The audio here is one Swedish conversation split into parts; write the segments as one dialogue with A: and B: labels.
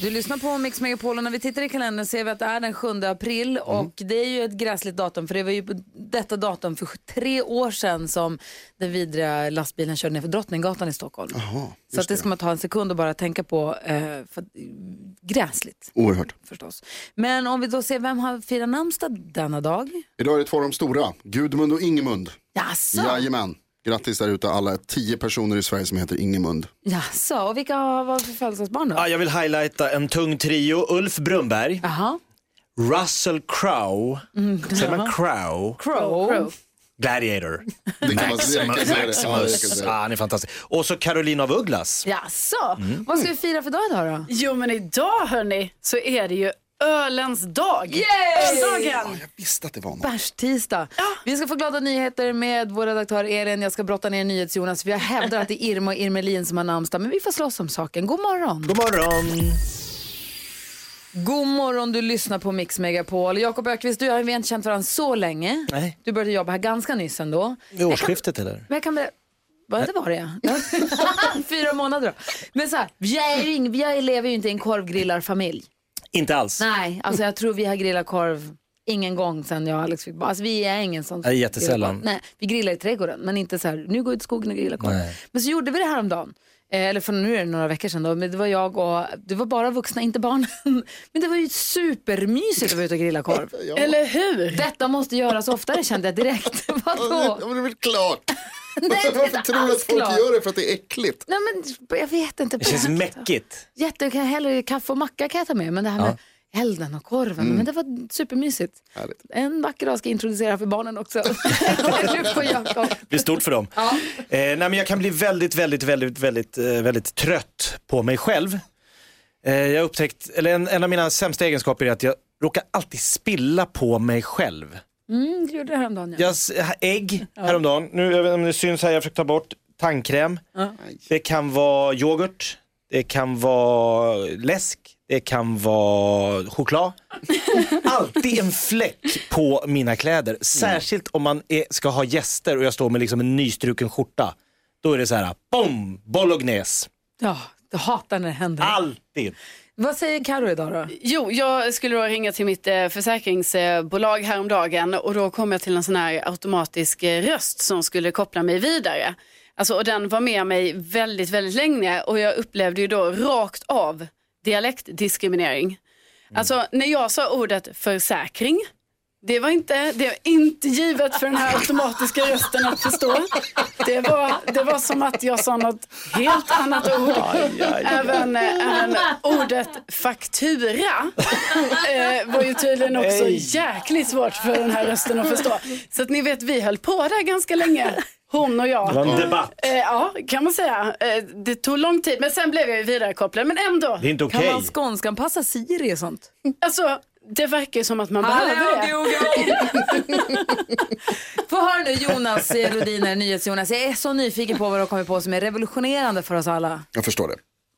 A: Du lyssnar på Mix Megapol och när vi tittar i kalendern ser vi att det är den 7 april och det är ju ett gräsligt datum för det var ju på detta datum för sju- tre år sedan som den vidriga lastbilen körde ner för Drottninggatan i Stockholm. Så att det ska man ta en sekund och bara tänka på, eh, för, att- gräsligt
B: Oerhört.
A: förstås. Men om vi då ser vem har firat namnsdag denna dag?
B: Idag är det två av de stora, Gudmund och Ingemund.
A: Jaså?
B: Jajamän. Grattis där ute alla tio personer i Sverige som heter Ingemund.
A: Jaså, och vilka har varit för födelsedagsbarn då?
C: Ja, jag vill highlighta en tung trio. Ulf Brunnberg,
A: Jaha,
C: Russell Crowe, säger man Crowe?
A: Crow.
C: Gladiator.
B: Det kan man säga. Jag kan säga det. Ja, jag kan
C: Maximus.
B: säga
C: Ah,
B: det.
C: han är fantastisk. Och så Caroline av Ugglas.
A: Jaså, vad ska vi fira för dag idag då?
D: Jo men idag hörni så är det ju ölens dag. Öldagen!
B: Jag visste att det var något.
A: Bärstisdag. Vi ska få glada nyheter med vår redaktör Elin. Jag ska brotta ner NyhetsJonas. för Jag hävdar att det är Irma och Irmelin som har namnsdag, men vi får slåss om saken. God morgon!
C: God morgon.
A: God morgon, du lyssnar på Mix Megapol. Jakob Ökvist, du har ju inte känt varandra så länge.
C: Nej.
A: Du började jobba här ganska nyss ändå.
C: Vid årsskiftet eller?
A: Men jag kan berätta... Vad det var det ja. Fyra månader då. Men så här, jag, är ju ing- jag lever ju inte i en korvgrillarfamilj.
C: Inte alls.
A: Nej, alltså jag tror vi har grillat korv ingen gång sen jag och Alex fick barn. Alltså vi är ingen sån.
C: Nej, jättesällan.
A: Nej, vi grillar i trädgården, men inte så här, nu går vi ut i skogen och grillar korv.
C: Nej.
A: Men så gjorde vi det här om dagen. Eller för nu är det några veckor sedan då, men det var jag och, det var bara vuxna, inte barnen. Men det var ju supermysigt att vara ute och grilla korv.
D: Eller hur?
A: Detta måste göras oftare kände jag direkt.
B: Ja,
A: Vadå?
B: men det är väl klart.
A: Nej, det är
B: Alltså, Varför
A: inte
B: tror du att
A: alls
B: folk
A: klart.
B: gör det för att det är äckligt?
A: Nej men jag vet inte.
C: Det känns mäckigt.
A: Jätte, jag kan hellre kaffe och macka kan jag ta med, men det här med elden och korven, men det var supermysigt.
B: Härligt.
A: En vacker dag ska jag introducera för barnen också. Du får Jakob.
C: Det blir stort för dem. Eh, nej, men jag kan bli väldigt, väldigt, väldigt, väldigt, eh, väldigt trött på mig själv. Eh, jag har upptäckt, eller en, en av mina sämsta egenskaper är att jag råkar alltid spilla på mig själv.
A: mm, du gjorde det häromdagen. Ja.
C: Jag, s- ägg häromdagen. Nu, jag vet inte om det syns här, jag försökte ta bort tandkräm. Det kan vara yoghurt. Det kan vara läsk. Det kan vara choklad. Alltid en fläck på mina
A: Mm.
C: kläder. Särskilt om man är, ska ha gäster och jag står med liksom en nystruken skjorta. Då är det så här, bom, bolognese.
A: Ja, jag hatar när det händer.
C: Alltid.
A: Vad säger Karo idag då?
D: Jo, jag skulle då ringa till mitt eh, försäkringsbolag häromdagen och då kom jag till en sån här automatisk eh, röst som skulle koppla mig vidare. Alltså, och den var med mig väldigt, väldigt länge och jag upplevde ju då rakt av dialektdiskriminering. Alltså när jag sa ordet försäkring, det var inte, det var inte givet för den här automatiska rösten att förstå. Det var, det var som att jag sa något helt annat ord. Även, eh, även ordet faktura eh, var ju tydligen också
C: Nej.
D: jäkligt svårt för den här rösten att förstå. Så att ni vet, vi höll på där ganska länge, hon och jag.
C: Det var en debatt.
D: Eh, ja, kan man säga. Eh, det tog lång tid, men sen blev jag ju vidarekopplad. Men ändå.
C: Det är inte
A: Kan
C: okej.
A: man skånskanpassa Siri och sånt?
D: Alltså, det verkar ju som att man behöver det.
A: Få höra nu Jonas eh, Rhodiner, NyhetsJonas. Jag är så nyfiken på vad du har kommit på som är revolutionerande för oss alla.
B: Jag förstår det.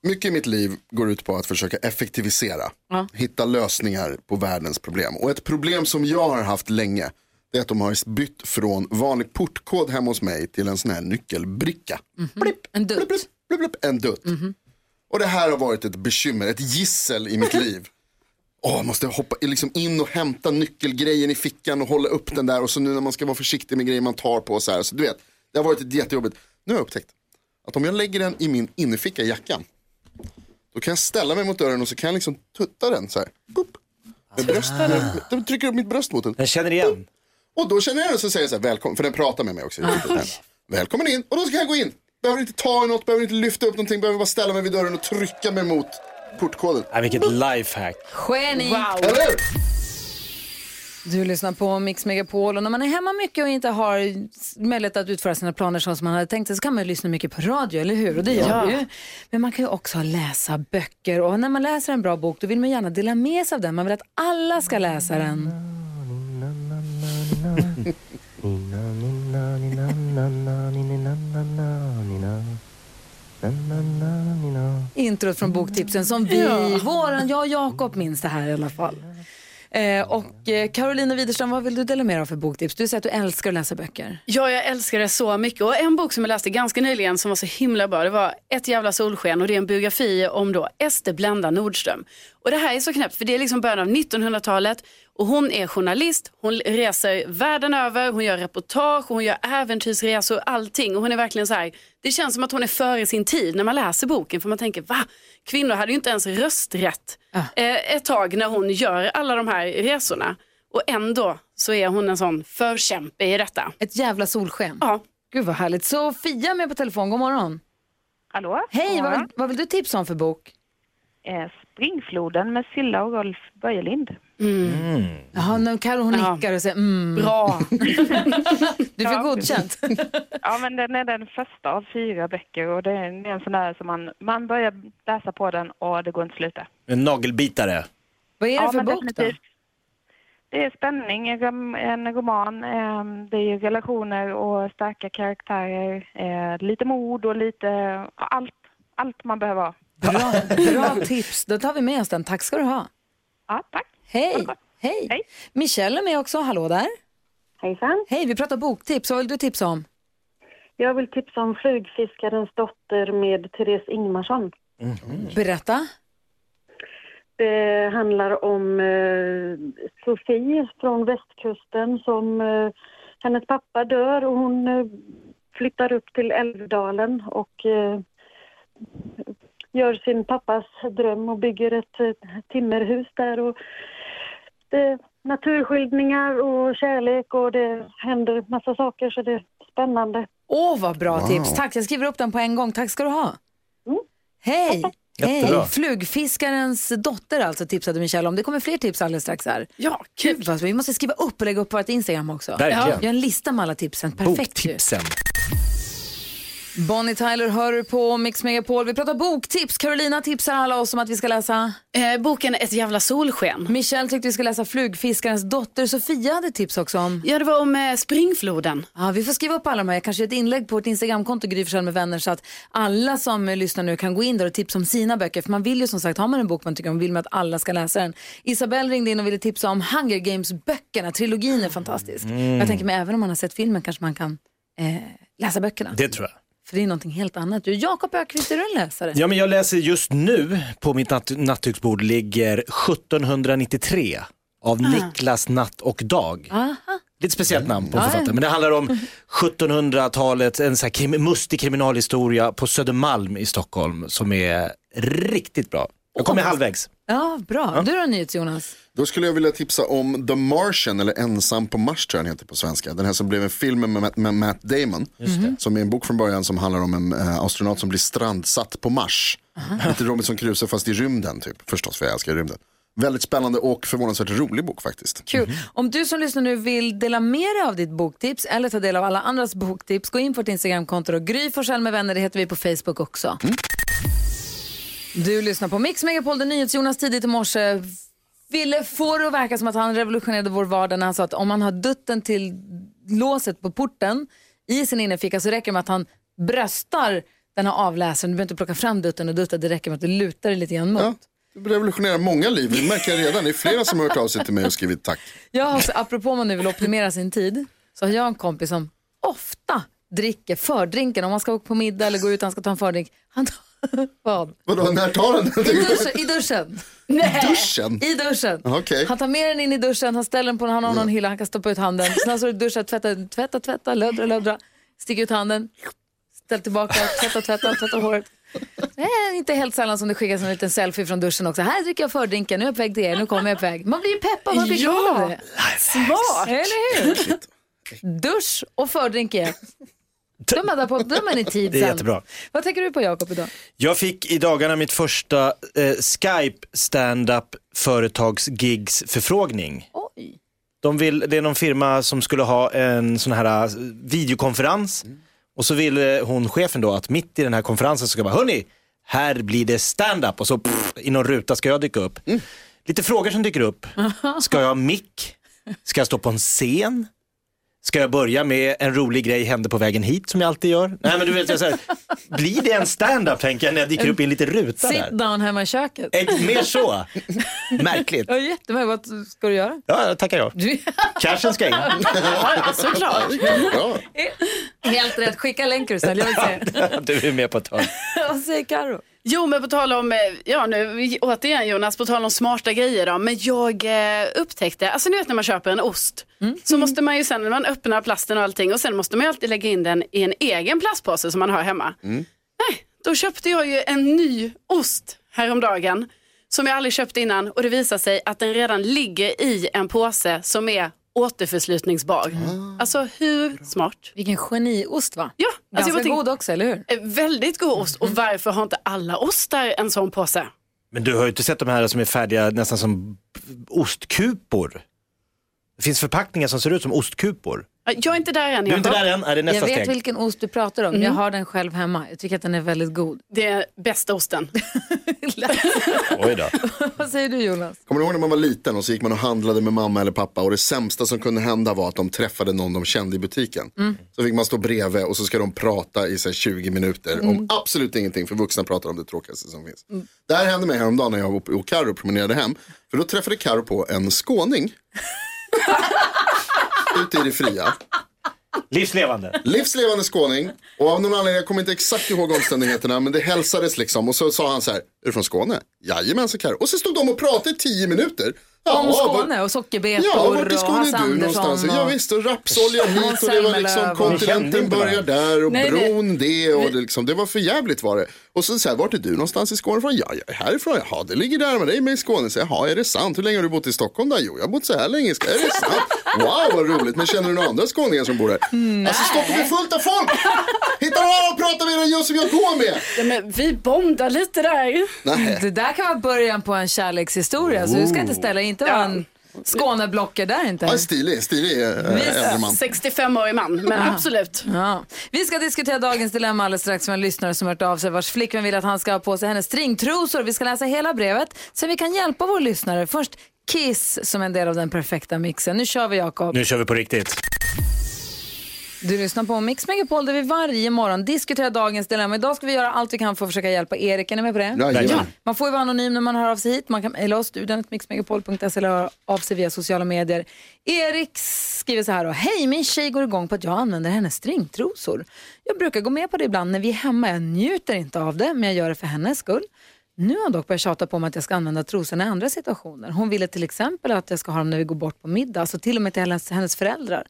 B: Mycket i mitt liv går ut på att försöka effektivisera. Hitta lösningar på världens problem. Och ett problem som jag har haft länge. Det är att de har bytt från vanlig portkod hemma hos mig till en sån här nyckelbricka. Blipp,
A: Mhm. En dutt. Mhm.
B: blipp, blipp, blipp, blipp, en dutt. Och det här har varit ett bekymmer, ett gissel i mitt liv. Åh, jag måste hoppa liksom in och hämta nyckelgrejen i fickan och hålla upp den där. Och så nu när man ska vara försiktig med grejer man tar på så här. Så du vet, det har varit ett jättejobbigt. Nu har jag upptäckt att om jag lägger den i min innerficka i jackan. Då kan jag ställa mig mot dörren och så kan jag liksom tutta den så här. Boop. Med bröst, med, då trycker jag upp mitt bröst mot den.
C: Jag känner igen.
B: Och då känner jag den så säger jag så här, välkommen, för den pratar med mig också. Välkommen in, och då ska jag gå in. Behöver inte ta i något, behöver inte lyfta upp någonting, behöver bara ställa mig vid dörren och trycka mig mot portkoden.
C: Nej, vilket lifehack.
A: Geni!
D: Wow.
B: Eller hur?
A: Du lyssnar på Mix Megapol och när man är hemma mycket och inte har s- möjlighet att utföra sina planer så som man hade tänkt sig så kan man ju lyssna mycket på radio, eller hur? Och det gör vi ju. Men man kan ju också läsa böcker och när man läser en bra bok då vill man gärna dela med sig av den. Man vill att alla ska läsa den. Introt från boktipsen som vi, våran, jag och Jakob minns det här i alla fall. Eh, och eh, Carolina Widerström, vad vill du dela med dig av för boktips? Du säger att du älskar att läsa böcker.
D: Ja, jag älskar det så mycket. Och en bok som jag läste ganska nyligen som var så himla bra, det var Ett jävla solsken och det är en biografi om då Ester Blenda Nordström. Och det här är så knäppt för det är liksom början av 1900-talet och hon är journalist, hon reser världen över, hon gör reportage, och hon gör äventyrsresor, allting. Och hon är verkligen så här, det känns som att hon är före sin tid när man läser boken för man tänker va? Kvinnor hade ju inte ens rösträtt eh, ett tag när hon gör alla de här resorna. Och ändå så är hon en sån förkämpe i detta.
A: Ett jävla solsken.
D: Ja.
A: Gud vad härligt. Sofia är med på telefon, god morgon.
E: Hallå? God
A: Hej, vad vill,
E: morgon.
A: vad vill du tipsa om för bok?
E: Eh, Springfloden med Silla och Rolf Börjelind.
A: Jaha, nu Karo hon
D: Ja.
A: nickar och säger mm.
D: Bra.
A: Du fick
E: Ja.
A: godkänt.
E: Ja, men den är den första av fyra böcker och det är en det är en sån där som man, man börjar läsa på den och det går inte att sluta.
C: En nagelbitare.
A: vad är det
E: ja,
A: för
E: men
A: bok då?
E: definitivt. Det är spänning, en rom- en roman, ehm, det är relationer och starka karaktärer, eh, lite mod och lite ja, allt, allt man behöver ha.
A: Bra, bra tips, då tar vi med oss den. Tack ska du ha.
E: Ja, tack. Ha det
A: Hej.
E: gott.
A: Hej.
E: Hej.
A: Michelle är med också, hallå där.
F: Hejsan.
A: Hej, vi pratar boktips, vad vill du tipsa om?
F: Jag vill tipsa om Flugfiskarens dotter med Therese Ingmarsson.
A: Berätta.
F: Det handlar om eh, Sofie från västkusten som eh, hennes pappa dör och hon eh, flyttar upp till Älvdalen och eh, gör sin pappas dröm och bygger ett eh, timmerhus där. Och det är naturskildringar och kärlek och det händer massa saker så det är spännande.
A: Åh, vad bra tips. Tack, jag skriver upp den på en gång. Tack ska du ha.
F: Mm.
A: Hej!
C: Jättebra.
A: Hej! Flugfiskarens dotter alltså tipsade Michelle om. Det kommer fler tips alldeles strax här.
D: Ja,
A: Gud vad vi måste skriva upp och lägga upp på vårt Instagram också.
C: Verkligen.
A: Ja. Gör en lista med alla tipsen. Perfekt ju.
C: Boktipsen.
A: Bonnie Tyler hör du på Mix Megapol. Vi pratar boktips. Carolina tipsar alla oss om att vi ska läsa.
D: Eh, boken Ett jävla solsken.
A: Michelle tyckte vi ska läsa Flugfiskarens dotter. Sofia hade tips också om.
D: Ja, det var om eh, springfloden.
A: Ja, vi får skriva upp alla de här. Jag kanske gör ett inlägg på vårt Instagramkonto, Gry Forssell med vänner, så att alla som eh, lyssnar nu kan gå in där och tipsa om sina böcker. För man vill ju som sagt, har man en bok man tycker om, vill man att alla ska läsa den. Isabelle ringde in och ville tipsa om Hunger Games-böckerna. Trilogin är fantastisk.
C: Mm.
A: Jag tänker mig, även om man har sett filmen kanske man kan eh, läsa böckerna.
C: Det tror jag.
A: För det är någonting helt annat. Du, Jakob Ökvist, är du en läsare?
C: Ja, men jag läser just nu, på mitt natt nattduksbord ligger 1793 av Niklas Natt och Dag.
A: Ah. Aha.
C: Lite speciellt namn på författaren, men det handlar om 1700-talet, en så här krim, mustig kriminalhistoria på Södermalm i Stockholm som är riktigt bra. Jag kommer halvvägs.
A: Ja, bra. Du då NyhetsJonas?
B: Då skulle jag vilja tipsa om The Martian, eller Ensam på Mars tror jag den heter på svenska. Den här som blev en film med, Matt- med Matt Damon. Mm. Som är en bok från början som handlar om en eh, astronaut som blir strandsatt på Mars. Lite Robinson Crusoe fast i rymden typ, förstås för jag älskar rymden. Väldigt spännande och förvånansvärt rolig bok faktiskt.
A: Kul. Om du som lyssnar nu vill dela med dig av ditt boktips eller ta del av alla andras boktips, gå in på vårt Instagramkonto och Gry Forssell med vänner, det heter vi på Facebook också. Du lyssnar på Mix Megapol, där NyhetsJonas tidigt i morse ville få det att verka som att han revolutionerade vår vardag när han sa att om man har dutten till låset på porten i sin innerficka så räcker det med att han bröstar den här avläsaren. Du behöver inte plocka fram dutten och dutta, det räcker med att du lutar dig lite grann mot.
B: Ja, det revolutionerar många liv, det märker jag redan. Det är flera som har hört av sig till mig och skrivit tack.
A: Jag har också, apropå om man nu vill optimera sin tid, så har jag en kompis som ofta dricker fördrinken. Om man ska åka på middag eller gå ut och han ska ta en fördrink. Han tar, vad?
B: Vadå, när tar den
A: I
B: den?
A: duschen. I duschen.
B: Duschen?
A: I duschen.
B: Okej. Mm.
A: Han tar med den in i duschen, han ställer den på han har någon hylla, han kan stoppa ut handen. Sen han står i duschen, tvättar, tvättar, tvättar, löddra, löddra, sticker ut handen, ställer tillbaka, tvättar, tvättar, tvättar håret. Nej, inte helt sällan som det skickas en liten selfie från duschen också. Här dricker jag fördrinken, nu är jag på väg till er, nu kommer jag på väg. Man blir ju peppad, man blir glad av det.
D: Smart!
A: Eller hur? Dusch och fördrink i ett. De är där på, de är i tid
C: Det är
A: sen.
C: jättebra.
A: Vad tänker du på Jakob idag?
C: Jag fick i dagarna mitt första eh, Skype stand-up företagsgigs förfrågning.
A: Oj.
C: De vill, det är någon firma som skulle ha en sån här eh, videokonferens. Och så vill eh, hon, chefen då, att mitt i den här konferensen så ska jag bara, hörni, här blir det stand-up. Och så pff, i någon ruta ska jag dyka upp. Lite frågor som dyker upp. Ska jag ha mick? Ska jag stå på en scen? Ska jag börja med en rolig grej hände på vägen hit som jag alltid gör? Nej men du vet, jag, så här, blir det en stand-up tänker jag när jag dyker upp i en liten ruta
A: Sit
C: där.
A: down hemma i köket.
B: Eh.
C: Ett, mer så. Märkligt.
A: Ja, jättemärkligt. Vad ska du göra?
C: Ja, tackar jag.
A: Du-
C: Cashen ska in.
D: Ja, såklart.
B: Bra.
A: Helt rätt. Skicka länken sen. Jag vill se.
C: Du är med på ett hörn.
A: Vad säger Karo?
D: Jo, men på tal om, eh, ja nu återigen Jonas, på tal om smarta grejer då. Men jag eh, upptäckte, alltså ni vet när man köper en ost, så måste man ju sen när man öppnar plasten och allting och sen måste man ju alltid lägga in den i en egen plastpåse som man har hemma. Nej, då köpte jag ju en ny ost häromdagen som jag aldrig köpt innan och det visar sig att den redan ligger i en påse som är återförslutningsbar. Alltså hur smart?
A: Vilken geniost, va?
D: Ja, alltså
A: Ganska
D: jag bara tänkte-
A: god också, eller hur?
D: Eh, Väldigt god ost
A: Mhm.
D: och varför har inte alla ostar en sån påse? Eh,
C: Men du har ju inte sett de här som är färdiga nästan som ostkupor. Det finns förpackningar som ser ut som ostkupor.
D: Ja, Jag är inte där än.
C: Du är
D: Jakob.
C: inte där än, är det
A: Jag
C: nästa
A: vet
C: steg?
A: vilken ost du pratar om. Jag har den själv hemma. Jag tycker att den är väldigt god.
D: Det är bästa osten.
C: Oj då.
A: Vad säger du, Jonas?
B: Kommer du ihåg när man var liten och så gick man och handlade med mamma eller pappa och det sämsta som kunde hända var att de träffade någon de kände i butiken. Så fick man stå bredvid och så ska de prata i så här, 20 minuter om absolut ingenting för vuxna pratar om det tråkigaste som finns. Det här hände mig häromdagen när jag var uppe och Carro promenerade hem. För då träffade Carro på en skåning. Ute i det fria.
C: Livslevande.
B: Livslevande skåning. Och av någon anledning, jag kommer inte exakt ihåg omständigheterna, men det hälsades liksom. Och så sa han så här, är du från Skåne? Jajamensan Carro. Och så stod de och pratade i tio minuter. Ja,
A: Om
B: vad-
A: Skåne och sockerbetor
B: Ja, vart i
A: och
B: Skåne
A: Hasse
B: är du
A: Andersson.
B: någonstans? Ja
A: och-
B: visst, och rapsolja hit och det var liksom
A: Salmelöv och-
C: Ni kände
B: kontinenten
C: inte
B: börjar där och
A: Nej, nej.
B: bron det och det, liksom, det var för jävligt var det. Och så så här, vart är du någonstans i Skåne från? Ja, jag är härifrån, jaha det ligger där med dig med i Skåne. Så, jaha, är det sant? Hur länge har du bott i Stockholm då? Jo, jag har bott så här länge. Ska- Är det sant? Wow, vad roligt. Men känner du några andra skåningar som bor här?
A: Mm,
B: Alltså Stockholm är fullt av folk! Hitta någon och prata med den jag som jag går med!
D: Ja, men vi bondar lite där.
B: Nej.
A: Det där kan vara början på en kärlekshistoria, så du ska inte ställa inte vara en Skåneblocker där inte.
B: Oh. Ja, stilig, stilig eh, äldre man.
D: 65-årig man, men absolut.
A: Ja. Vi ska diskutera dagens dilemma alldeles strax med en lyssnare som hört av sig vars flickvän vill att han ska ha på sig hennes stringtrosor. Vi ska läsa hela brevet så vi kan hjälpa vår lyssnare. Först Kiss som en del av den perfekta mixen. Nu kör vi Jakob.
C: Nu kör vi på riktigt.
A: Du lyssnar på Mix Megapol där vi varje morgon diskuterar dagens dilemma. Idag ska vi göra allt vi kan för att försöka hjälpa Erik. Är ni med på det?
B: Jajamän.
C: Ja.
A: Man får ju vara anonym när man hör av sig hit. Man kan mejla oss, studion.mixmegapol.se eller höra av sig via sociala medier. Erik skriver så här då. Hej, min tjej går igång på att jag använder hennes stringtrosor. Jag brukar gå med på det ibland när vi är hemma. Jag njuter inte av det, men jag gör det för hennes skull. Nu har hon dock börjat tjata på mig att jag ska använda trosorna i andra situationer. Hon ville till exempel att jag ska ha dem när vi går bort på middag, alltså till och med till hennes, hennes föräldrar.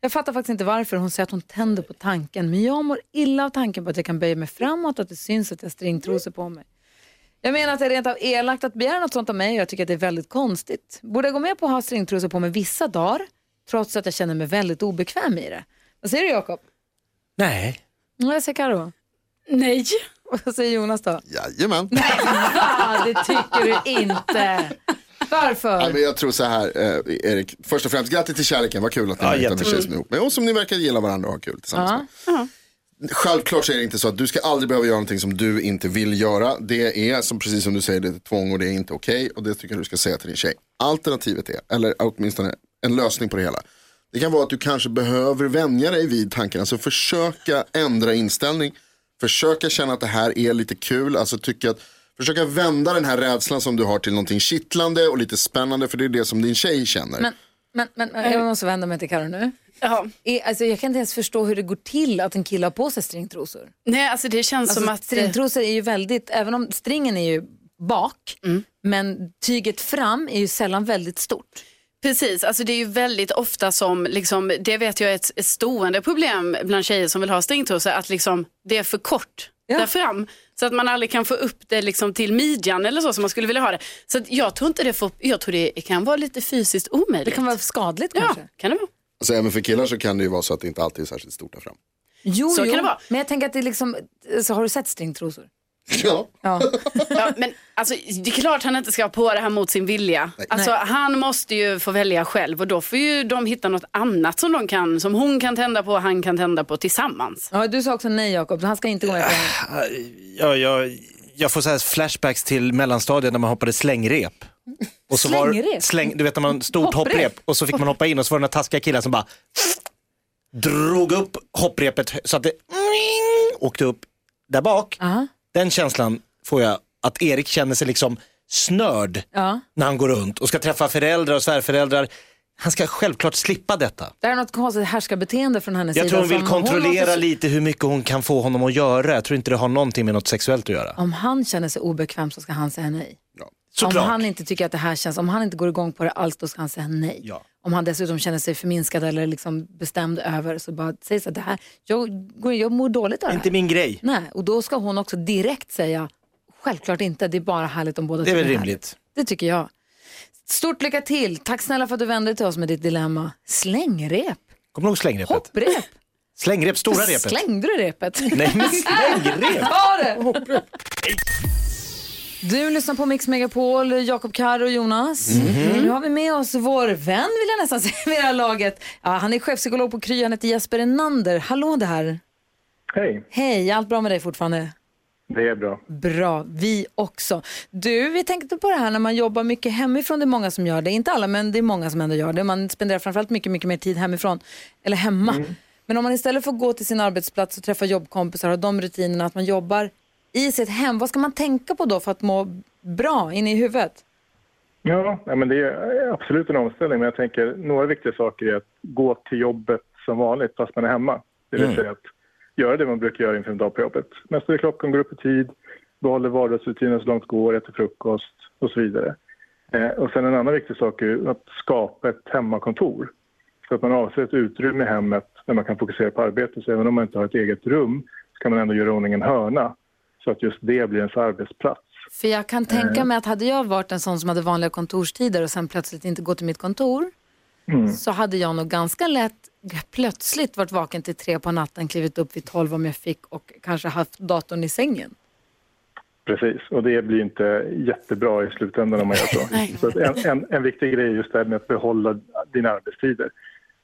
A: Jag fattar faktiskt inte varför. Hon säger att hon tänder på tanken, men jag mår illa av tanken på att jag kan böja mig framåt och att det syns att jag har stringtrosor på mig. Jag menar att det är rent av elakt att begära något sånt av mig och jag tycker att det är väldigt konstigt. Borde jag gå med på att ha stringtrosor på mig vissa dagar trots att jag känner mig väldigt obekväm i det? Vad säger du Jakob?
C: Nej.
A: Ja, jag säger Karo.
D: Nej.
A: Och Vad säger Jonas då?
B: Jajamän.
A: Ah, det tycker du inte.
B: Ja,
A: Varför?
B: men jag tror så här, eh, Erik. Först och främst, grattis till kärleken. Vad kul att ni
C: Ja,
B: har hittat en
C: jättekul.
B: tjej som är ihop med. Och som ni verkar gilla varandra och ha kul tillsammans
A: Ja.
B: med. Självklart så är det inte så att du ska aldrig behöva göra någonting som du inte vill göra. Det är, som, precis som du säger, det är ett tvång och det är inte okej. Och det tycker jag du ska säga till din tjej. Alternativet är, eller åtminstone en lösning på det hela. Det kan vara att du kanske behöver vänja dig vid tanken. Alltså försöka ändra inställning. Försöka känna att det här är lite kul. Alltså tycka att Försöka vända den här rädslan som du har till någonting kittlande och lite spännande för det är det som din tjej känner.
A: Men, men, men, men jag måste vända mig till Karo nu.
D: Ja.
A: Eh, Alltså, jag kan inte ens förstå hur det går till att en kille har på sig stringtrosor.
D: Nej, alltså det känns som
A: Alltså,
D: att... eh,
A: Stringtrosor är ju väldigt, även om stringen är ju bak,
D: Mm.
A: men tyget fram är ju sällan väldigt stort.
D: Precis, alltså det är ju väldigt ofta som, liksom, det vet jag är ett, ett stående problem bland tjejer som vill ha stringtrosor, att liksom, det är för kort
A: Ja.
D: där fram. Så att man aldrig kan få upp det liksom till midjan eller så som man skulle vilja ha det. Så att jag tror inte det får, jag tror det kan vara lite fysiskt omöjligt.
A: Det kan vara skadligt
D: ja,
A: kanske.
D: kan det vara.
B: Alltså, även för killar så kan det ju vara så att det inte alltid är särskilt stort där fram.
A: Jo,
D: Så
A: jo.
D: kan det vara.
A: Men jag tänker att det är liksom, så har du sett stringtrosor?
B: Ja.
A: Ja.
D: Ja, men alltså, det är klart han inte ska ha på det här mot sin vilja. Alltså, han måste ju få välja själv och då får ju de hitta något annat som, de kan, som hon kan tända på och han kan tända på tillsammans.
A: ja, du sa också nej Jakob, så han ska inte gå med på det.
C: Ja, jag, jag får så här flashbacks till mellanstadiet när man hoppade slängrep. Och så Var,
A: Slängrep?
C: släng, du vet när man stort
A: Hopprep.
C: hopprep. och så fick man hoppa in och så var det några taskiga killar som bara drog upp hopprepet så att det åkte upp där bak.
A: Aha.
C: Den känslan får jag att Erik känner sig liksom snörd
A: Ja.
C: när han går runt och ska träffa föräldrar och svärföräldrar. Han ska självklart slippa detta.
A: Det här är något konstigt härskarbeteende från hennes
C: Jag
A: sida.
C: tror hon vill
A: som måste-
C: kontrollera lite hur mycket hon kan få honom att göra. Jag tror inte det har någonting med något sexuellt att göra.
A: Om han känner sig obekväm så ska han säga nej.
C: Såklart.
A: Om han inte tycker att det här känns, om han inte går igång på det alls, då ska han säga nej.
C: Ja.
A: Om han dessutom känner sig förminskad eller liksom bestämd över, så bara säg så att det här, jag, går- jag mår dåligt av det
C: Inte
A: här.
C: min grej.
A: Nej, och då ska hon också direkt säga, självklart inte, det är bara härligt om båda
C: Det är väl
A: tycker
C: rimligt.
A: härligt." Det tycker jag. Stort lycka till, tack snälla för att du vände dig till oss med ditt dilemma. Slängrep,
C: Kommer du ihåg slängrepet?
A: hopprep,
C: Slängrep, stora repet.
A: slängde du repet?
C: Nej, men slängrep.
A: Ta det! Du lyssnar på Mix Megapol, Jakob Karro och Jonas.
C: Mhm.
A: Nu har vi med oss vår vän, vill jag nästan säga, med det här laget. Ja, han är chefpsykolog på Kry, han heter Jesper Enander. Hallå där!
G: Hej,
A: Hej, allt bra med dig fortfarande?
G: det är bra.
A: Bra, vi också. Du, vi tänkte på det här när man jobbar mycket hemifrån. Det är många som gör det, inte alla men det är många som ändå gör det. Man spenderar framförallt mycket, mycket mer tid hemifrån eller hemma. Men om man istället får gå till sin arbetsplats och träffa jobbkompisar och de rutinerna att man jobbar i sitt hem, vad ska man tänka på då för att må bra inne i huvudet?
G: Ja, nej, men det är eh, absolut en omställning, men jag tänker några viktiga saker är att gå till jobbet som vanligt fast man är hemma. Det vill säga att göra det man brukar göra inför en dag på jobbet. Mästar i klockan, går upp i tid, behåller vardagsrutinen så långt det går, äter frukost och så vidare. Eh, och sen en annan viktig sak är ju att skapa ett hemmakontor. Så att man avser ett utrymme i hemmet där man kan fokusera på arbetet. Så även om man inte har ett eget rum så kan man ändå göra i ordning en hörna så att just det blir ens arbetsplats.
A: För jag kan
G: Eh.
A: tänka mig att hade jag varit en sån som hade vanliga kontorstider och sen plötsligt inte gått till mitt kontor
G: Mm.
A: så hade jag nog ganska lätt plötsligt varit vaken till tre på natten, klivit upp vid tolv om jag fick och kanske haft datorn i sängen.
G: Precis, och det blir inte jättebra i slutändan om man gör så. så att en, en, en viktig grej är just det här med att behålla dina arbetstider.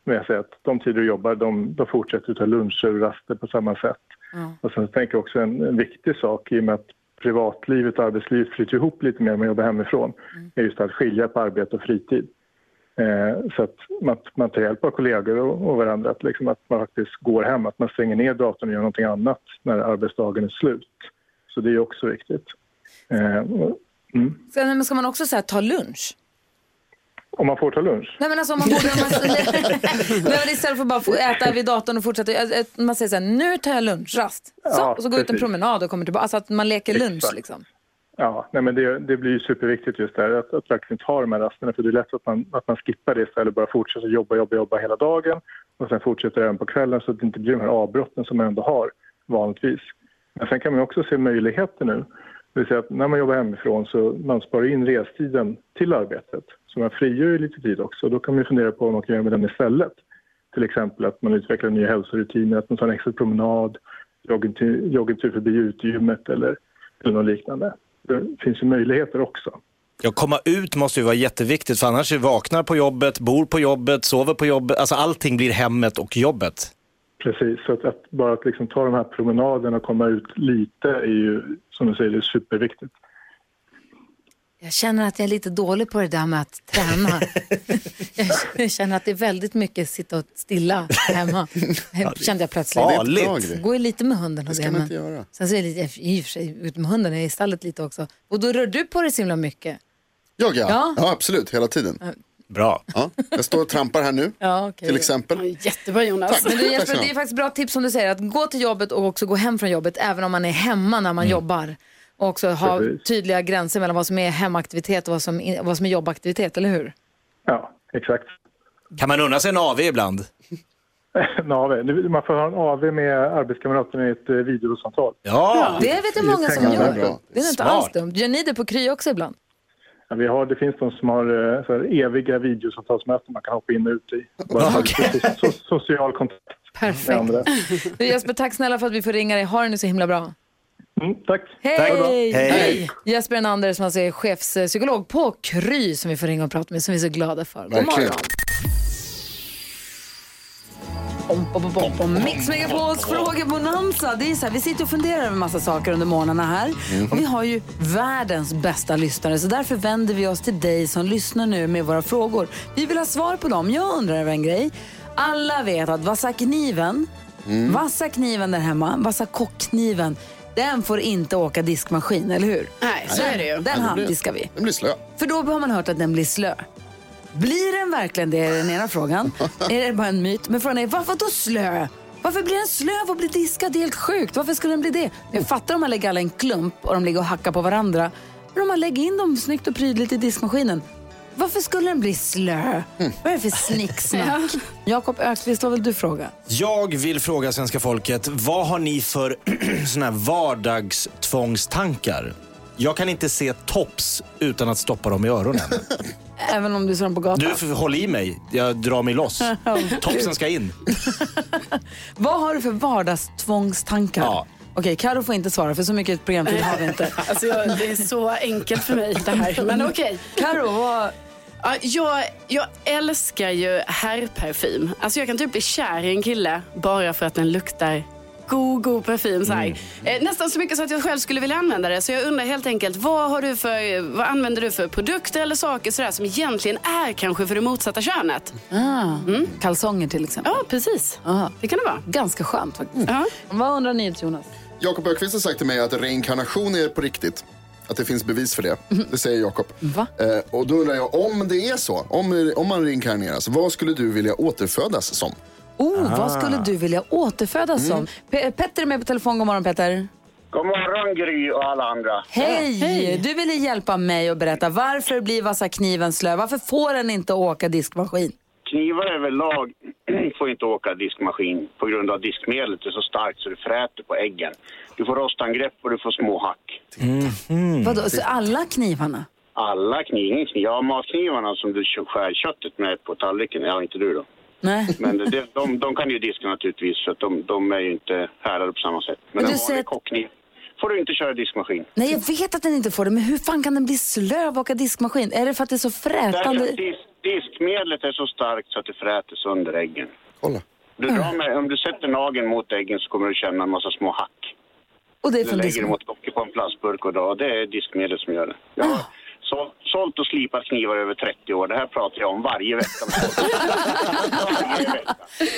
G: Men jag säger att de tider du jobbar, de, de fortsätter du ta luncher och raster på samma sätt. Och sen tänker jag också en, en viktig sak i och med att privatlivet och arbetslivet flyter ihop lite mer när man jobbar hemifrån, är just att skilja på arbete och fritid. Eh, så att man, man tar hjälp av kollegor och, och varandra, att, liksom, att man faktiskt går hem, att man stänger ner datorn och gör någonting annat när arbetsdagen är slut. Så det är också viktigt. Eh, och- mm.
A: Ska, nej, men ska man också så här, ta lunch?
G: Om man får ta lunch?
A: Nej men alltså om man borde... Om man, nej, men istället för att bara få äta vid datorn och fortsätta. äh, äh, Man säger så här, nu tar jag lunchrast. Så,
G: Ja,
A: och så går ut en
G: precis.
A: promenad och kommer tillbaka. Alltså att man leker lunch
G: Exakt.
A: liksom.
G: Ja, nej men det, det blir ju superviktigt just där att, att verkligen ta de här rasterna för det är lätt att man, att man skippar det istället och bara fortsätter jobba, jobba, jobba hela dagen och sen fortsätter även på kvällen så att det inte blir de här avbrotten som man ändå har vanligtvis. Men sen kan man ju också se möjligheter nu. Det vill säga att när man jobbar hemifrån så man sparar in restiden till arbetet så man frigör ju lite tid också. Då kan man ju fundera på vad man kan göra med den istället. Till exempel att man utvecklar nya hälsorutiner, att man tar en extra promenad, joggingtur joggingtur förbi utegymmet eller, eller något liknande. Det finns ju möjligheter också.
C: Ja, komma ut måste ju vara jätteviktigt för annars är vaknar på jobbet, bor på jobbet, sover på jobbet. Alltså allting blir hemmet och jobbet.
G: Precis, så att, att bara att liksom ta de här promenaderna och komma ut lite är ju, som du säger, det är superviktigt.
A: Jag känner att jag är lite dålig på det där med att träna. jag känner att det är väldigt mycket sitta och stilla hemma. Kände jag plötsligt.
B: Det är ett
C: Farligt.
B: bra grej.
A: Går ju lite med hunden. och
B: ska
A: det,
B: man
A: men-
B: inte göra.
A: Sen så är jag lite, i och för sig ut med hunden, jag är i stallet lite också. Och då rör du på dig så himla mycket.
B: Jag ja.
A: Ja.
B: ja. absolut, hela tiden.
C: Bra.
B: Ja. Jag står och trampar här nu,
A: Ja, okej.
B: till exempel.
D: Ja, Jättebra Jonas.
B: Tack.
A: Men du Jesper,
B: snälla.
A: det är faktiskt bra tips som du säger, att gå till jobbet och också gå hem från jobbet, även om man är hemma när
B: Mm.
A: man jobbar. Och också ha
G: Precis.
A: tydliga gränser mellan vad som är hemaktivitet och vad som, in- vad som är jobbaktivitet, eller hur?
G: Ja, exakt.
C: Kan man unna sig en AV ibland?
G: En AV. Nu- Man får ha en AV med arbetskamraterna i ett eh, videosamtal.
C: Ja.
A: Det vet jag många som
G: pengar, det är
A: gör.
B: bra.
A: Det är inte
C: Smart.
A: alls dumt. Gör ni det på Kry också ibland?
G: Ja, vi har, det finns de som har eh, så här, eviga videosamtalsmöten man kan hoppa in och ut i. Bara för so, so, social kontakt med
A: Perfekt.
G: andra.
A: Du Jesper, tack snälla för att vi får ringa dig. Ha det nu så himla bra.
G: Mm, tack.
A: Hej!
G: Ha det bra.
A: Jesper Enander som alltså är chefspsykolog på Kry som vi får ringa och prata med som vi är så glada för. God morgon! Om, om, om, om, om. Mix Megapols frågebonanza. Det är så här, vi sitter och funderar över massa saker under morgnarna här.
H: Mm.
A: Och vi har ju världens bästa lyssnare. Så därför vänder vi oss till dig som lyssnar nu med våra frågor. Vi vill ha svar på dem. Jag undrar över en grej. Alla vet att vassa kniven, vassa kniven där hemma, vassa kockkniven, den får inte åka diskmaskin, eller hur?
D: Nej, så är det ju.
A: Den handdiskar vi.
B: Den blir slö.
A: För då har man hört att den blir slö. Blir den verkligen det, är den ena frågan. är det bara en myt? Men frågan är, varför då slö? Varför blir den slö av att bli diskad? Det är helt sjukt. Varför skulle den bli det? Jag fattar om man lägger alla i en klump och de ligger och hackar på varandra. Men om man lägger in dem snyggt och prydligt i diskmaskinen, varför skulle den bli slö? Vad är det för snicksnack? Jakob Ökvist, vad vill du fråga?
C: Jag vill fråga svenska folket, vad har ni för såna här vardagstvångstankar? Jag kan inte se tops utan att stoppa dem i öronen.
A: Även om du ser dem på gatan.
C: Du, får- håll i mig. Jag drar mig loss. Topsen ska in.
A: Vad har du för vardagstvångstankar? Okej, Karo får inte svara för så mycket programtid har vi inte.
D: Alltså, jag- det är så enkelt för mig det här. Men okej.
A: Karo, vad...
D: Ja, jag, jag älskar ju herrparfym. Alltså jag kan typ bli kär i en kille bara för att den luktar god, god parfym. Så här. Eh, nästan så mycket så att jag själv skulle vilja använda det. Så jag undrar helt enkelt, vad, har du för, vad använder du för produkter eller saker så där, som egentligen är kanske för det motsatta könet?
A: Ah, Kalsonger till exempel.
D: Ja, precis. Det kan det vara.
A: Ganska skönt faktiskt. Mm. Vad undrar ni, Jonas?
B: Jakob Ökvist har sagt till mig att reinkarnation är på riktigt. Att det finns bevis för det.
A: Mhm.
B: Det säger Jakob. Eh, och då undrar jag, om det är så, om, om man reinkarneras, vad skulle du vilja återfödas som?
A: Oh, vad skulle du vilja återfödas
I: Mm.
A: som? Pe- Petter är med på telefon. God morgon, Petter.
I: God morgon Gry och alla andra.
A: Hej! Du ville hjälpa mig att berätta varför blir vassa kniven slö? Varför får den inte åka diskmaskin?
I: Knivar överlag får inte åka diskmaskin på grund av diskmedlet är så starkt så det fräter på äggen. Du får rostangrepp och du får små hack. Mm.
A: Vadå, så alla knivarna?
I: Alla kniv, ingen kniv. Ja, matknivarna som du kö- skär köttet med på tallriken, ja inte du då.
A: Nej.
I: Men det, det- de, de kan ju diska naturligtvis så att de, de är ju inte härdade på samma sätt. Men,
A: Men du
I: en
A: säger
I: vanlig
A: att-
I: kockkniv får du inte köra diskmaskin.
A: Nej, jag vet att den inte får det, men hur fan kan den bli slö av att åka diskmaskin? Är det för att det är så
I: Därför
A: frätande?
I: att dis- diskmedlet är så starkt så att det fräter sönder äggen.
B: Kolla.
I: Du drar med, om du sätter nageln mot äggen så kommer du känna en massa små hack.
A: Och det är
I: du
A: från
I: lägger
A: diskmaskin?
I: dem mot dockor på en plastburk och drar. Det är diskmedlet som gör det. Jag har sålt, sålt och slipat knivar i över 30 år. Det här pratar jag om varje vecka.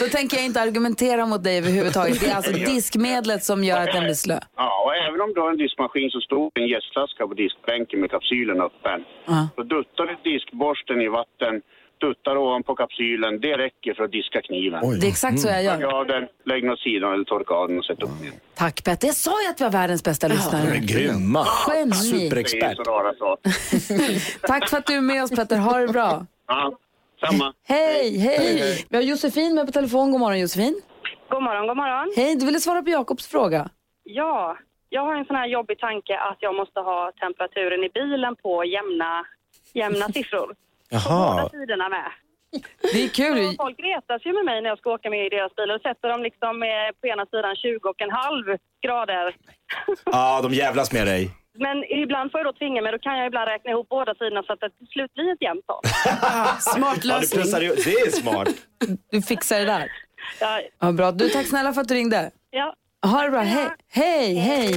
A: Då tänker jag inte argumentera mot dig överhuvudtaget. Det är alltså diskmedlet som gör att den blir slö.
I: Ja, och även om du har en diskmaskin så står en gästflaska på diskbänken med kapsylen öppen.
A: Ja.
I: Så duttar du diskborsten i vatten, duttar ovanpå kapsylen. Det räcker för att diska kniven.
A: Det är exakt så jag gör.
I: Lägg av den, lägg den åt sidan eller torka av den och sätt upp den.
A: Tack Petter. Jag sa ju att vi har världens bästa lyssnare.
C: Grymma.
A: Geni.
I: Det är så rara saker.
A: Tack för att du är med oss Petter. Ha det bra.
I: Ja, samma.
A: Hej, hej, Vi har Josefin med på telefon. God morgon Josefin.
H: God morgon, god morgon.
A: Hej, du ville svara på Jakobs fråga.
H: Ja, jag har en sån här jobbig tanke att jag måste ha temperaturen i bilen på jämna, jämna siffror.
C: Jaha.
H: Tiderna med.
A: Det är
H: Så
A: kul.
H: folk retas ju med mig när jag ska åka med i deras bilar och sätter dem liksom eh, på ena sidan 20 och en halv grader.
C: Ja, de jävlas med dig.
H: Men ibland får jag då tvinga mig, då kan jag ibland räkna ihop båda sidorna så att det till slut blir ett jämnt tal.
D: Smart
C: Ja, du pressar ju- det är smart.
A: Du fixar det där.
H: Ja,
A: Ja, bra. Du, tack snälla för att du ringde.
H: ja.
A: Ha det bra. Hej, hej, hej.